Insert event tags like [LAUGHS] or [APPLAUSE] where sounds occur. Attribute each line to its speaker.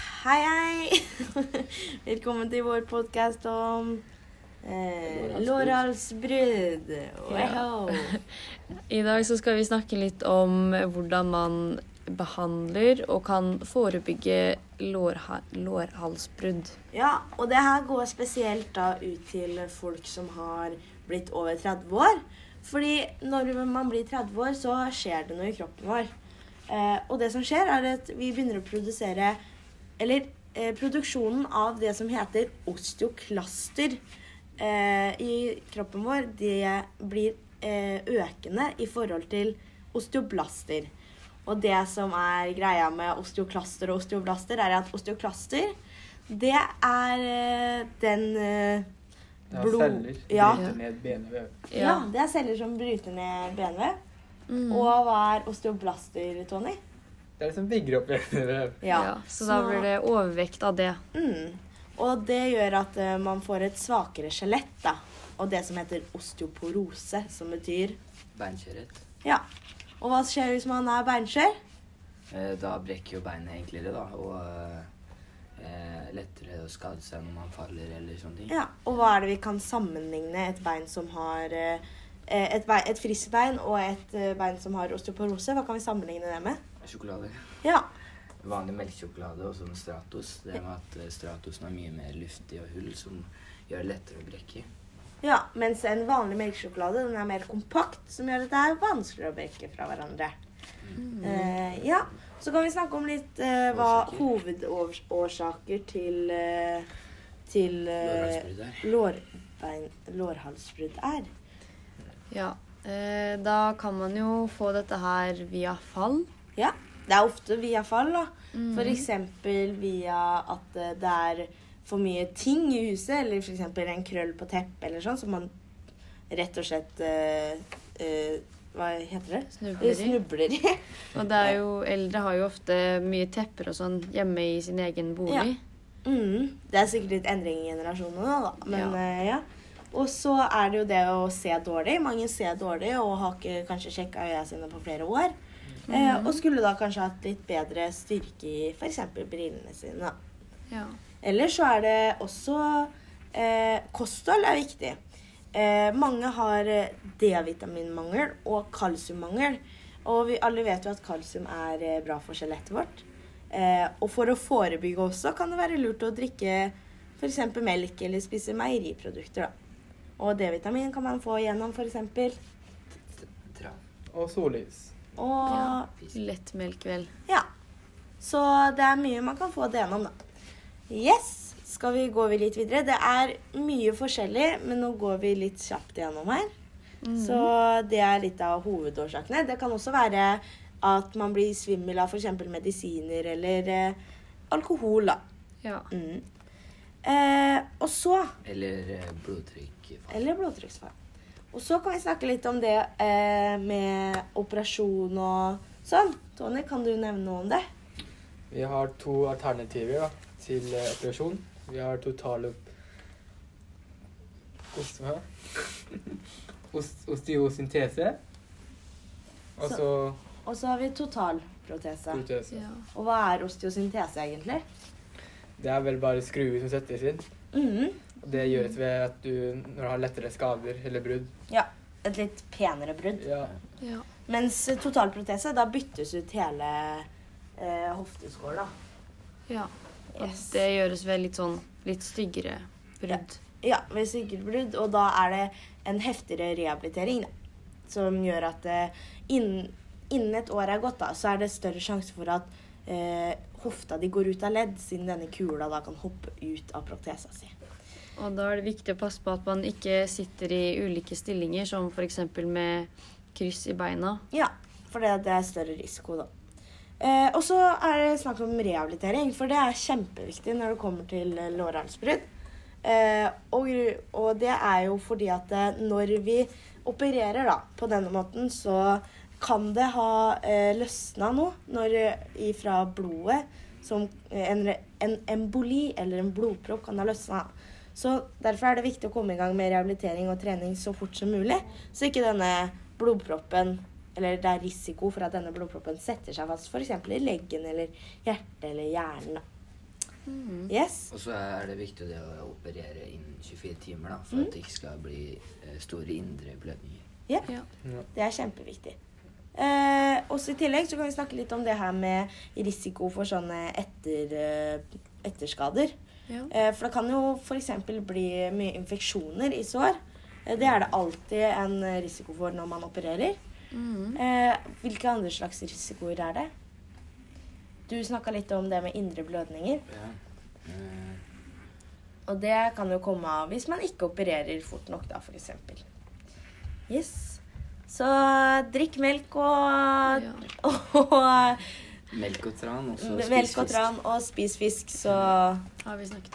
Speaker 1: Hei, hei! [LAUGHS] Velkommen til vår podkast om eh, lårhalsbrudd. Wow.
Speaker 2: I dag så skal vi snakke litt om hvordan man behandler og kan forebygge lårha lårhalsbrudd.
Speaker 1: Ja, og det her går spesielt da ut til folk som har blitt over 30 år. Fordi når man blir 30 år, så skjer det noe i kroppen vår. Eh, og det som skjer, er at vi begynner å produsere Eller eh, produksjonen av det som heter osteoklaster eh, i kroppen vår, det blir eh, økende i forhold til osteoblaster. Og det som er greia med osteoklaster og osteoblaster, er at osteoklaster, det er eh, den eh,
Speaker 3: Det er
Speaker 1: blod-
Speaker 3: celler.
Speaker 1: Ja.
Speaker 3: Bryter ned benvev.
Speaker 1: ja, det er celler som bryter ned benvev.
Speaker 2: Mm.
Speaker 1: Og hva er osteoblaster, Tony?
Speaker 3: Det er det som bygger opp benvev.
Speaker 2: Ja. Så da blir det overvekt av det.
Speaker 1: Mm. Og det gjør at eh, man får et svakere skjelett, da. Og det som heter osteoporose, som betyr
Speaker 4: Beinskjørhet.
Speaker 1: Ja. Og hva skjer hvis man er beinskjør?
Speaker 4: Eh, Da brekker jo beinet enklere, da, og eh, eh, lettere å skade seg når man faller eller sånne ting.
Speaker 1: Ja. Og hva er det vi kan sammenligne et bein som har eh, et, bein, et friskt bein og et eh, bein som har osteoporose? Hva kan vi sammenligne det med?
Speaker 4: Sjokolade.
Speaker 1: Ja.
Speaker 4: Vanlig melkesjokolade og sånn Stratos. Det med at eh, Stratosen er mye mer luftig og hull, som gjør det lettere å brekke.
Speaker 1: ja. Mens en vanlig melkesjokolade den er mer kompakt, som gjør at det er vanskeligere å brekke fra hverandre.
Speaker 4: Mm.
Speaker 1: Eh, ja. Så kan vi snakke om litt eh, hva hovedårsaker til eh, til eh,
Speaker 4: Lårhalsbrudd er.
Speaker 1: lårbein, lårhalsbrudd er.
Speaker 2: Ja. Eh, Da kan man jo få dette her via fall.
Speaker 1: Ja. Det er ofte via fall, da.
Speaker 2: Mm.
Speaker 1: For eksempel via at eh, det er for mye ting i huset, eller for eksempel en krøll på teppet eller sånn, som man rett og slett eh, eh, Hva heter det?
Speaker 2: Snubler i.
Speaker 1: Snubler i. [LAUGHS]
Speaker 2: Og det er jo, eldre har jo ofte mye tepper og sånn hjemme i sin egen bolig.
Speaker 1: Mm, det er sikkert litt endring i generasjonene, nå, da. Men
Speaker 2: Ja.
Speaker 1: eh, ja. Og så er det jo det å se dårlig. Mange ser dårlig og har ikke kanskje sjekka øya sine på flere år. Eh,
Speaker 2: Mm.
Speaker 1: og skulle da kanskje hatt litt bedre styrke i f.eks. brillene sine. da.
Speaker 2: Ja.
Speaker 1: Ellers så er det også eh, Kosthold er viktig. Eh, mange har eh, D-vitaminmangel og kalsiummangel. Og vi alle vet jo at kalsium er eh, bra for skjelettet vårt. Eh, og for å forebygge også kan det være lurt å drikke f.eks. melk eller spise meieriprodukter. Da. Og D-vitamin kan man få gjennom f.eks.
Speaker 4: Tra.
Speaker 3: Og sollys.
Speaker 1: Og
Speaker 2: Ja. Lettmelk vel.
Speaker 1: Ja. Så det er mye man kan få det gjennom, da. Yes, skal vi gå vi litt videre? Det er mye forskjellig, men nå går vi litt kjapt gjennom her. Så det er litt av hovedårsakene. Det kan også være at man blir svimmel av f.eks. medisiner eller eh, alkohol, da.
Speaker 2: Ja.
Speaker 1: Mm. Eh, og så
Speaker 4: Eller eh, blodtrykk.
Speaker 1: eller blodtrykksfall. Og så kan vi snakke litt om det eh, med operasjon og sånn. Tony, kan du nevne noe om det?
Speaker 3: Vi har to alternativer da, til eh, operasjon. Vi har total op... Ost...
Speaker 1: [LAUGHS]
Speaker 3: Hva? Ost, osteosyntese. Og
Speaker 1: Så-
Speaker 3: så
Speaker 1: Og så har vi totalprotese.
Speaker 3: protese.
Speaker 2: Ja.
Speaker 1: Og hva er osteosyntese egentlig?
Speaker 3: Det er vel bare skruer som settes inn.
Speaker 1: Mhm.
Speaker 3: Og det gjøres ved at du når du har lettere skader eller brudd.
Speaker 1: Ja, et litt penere brudd.
Speaker 3: Ja.
Speaker 2: ja.
Speaker 1: Mens totalprotese, da byttes ut hele eh, hofteskåla.
Speaker 2: ja. Og
Speaker 1: Yes.
Speaker 2: det gjøres ved litt sånn litt styggere brudd.
Speaker 1: Ja, ved sykkelbrudd, og da er det en heftigere rehabilitering, da. Som gjør at eh, innen, innen et år er gått, da, så er det større sjanse for at eh, hofta di går ut av ledd, siden denne kula da kan hoppe ut av protesa si.
Speaker 2: Og da er det viktig å passe på at man ikke sitter i ulike stillinger, som f.eks. med kryss i beina.
Speaker 1: Ja, for det, det er større risiko, da. Eh, og så er det snakk om rehabilitering, for det er kjempeviktig når det kommer til eh, lårhalsbrudd. Eh, og, gru- og det er jo fordi at eh, når vi opererer da, på denne måten, så kan det ha eh, løsna noe når, eh, ifra blodet. Som eh, en, re- en emboli eller en blodpropp kan ha løsna. Så derfor er det viktig å komme i gang med rehabilitering og trening så fort som mulig, så ikke denne blodproppen eller det er risiko for at denne blodproppen setter seg fast f.eks. i leggen eller hjertet eller hjernen. da.
Speaker 2: Mm.
Speaker 1: Yes.
Speaker 4: Og så er det viktig det å operere innen 24 timer, da, for at det ikke skal bli eh, store indre blødninger.
Speaker 2: Ja.
Speaker 3: Ja.
Speaker 1: Det er kjempeviktig. Eh, også I tillegg så kan vi snakke litt om det her med risiko for sånne etter, eh, etterskader.
Speaker 2: Ja.
Speaker 1: Eh, for det kan jo f.eks. bli mye infeksjoner i sår. Eh, det er det alltid en eh, risiko for når man opererer.
Speaker 2: Mhm.
Speaker 1: Eh, hvilke andre slags risikoer er det? Du snakka litt om det med indre blødninger.
Speaker 4: Ja. Eh,
Speaker 1: Og det kan jo komme av hvis man ikke opererer fort nok, da, f.eks. Yes. Så drikk melk og,
Speaker 2: Ja.
Speaker 1: [LAUGHS] og
Speaker 4: melk og tran, og så
Speaker 1: melk og tran, og spis fisk, så
Speaker 2: Har vi snakket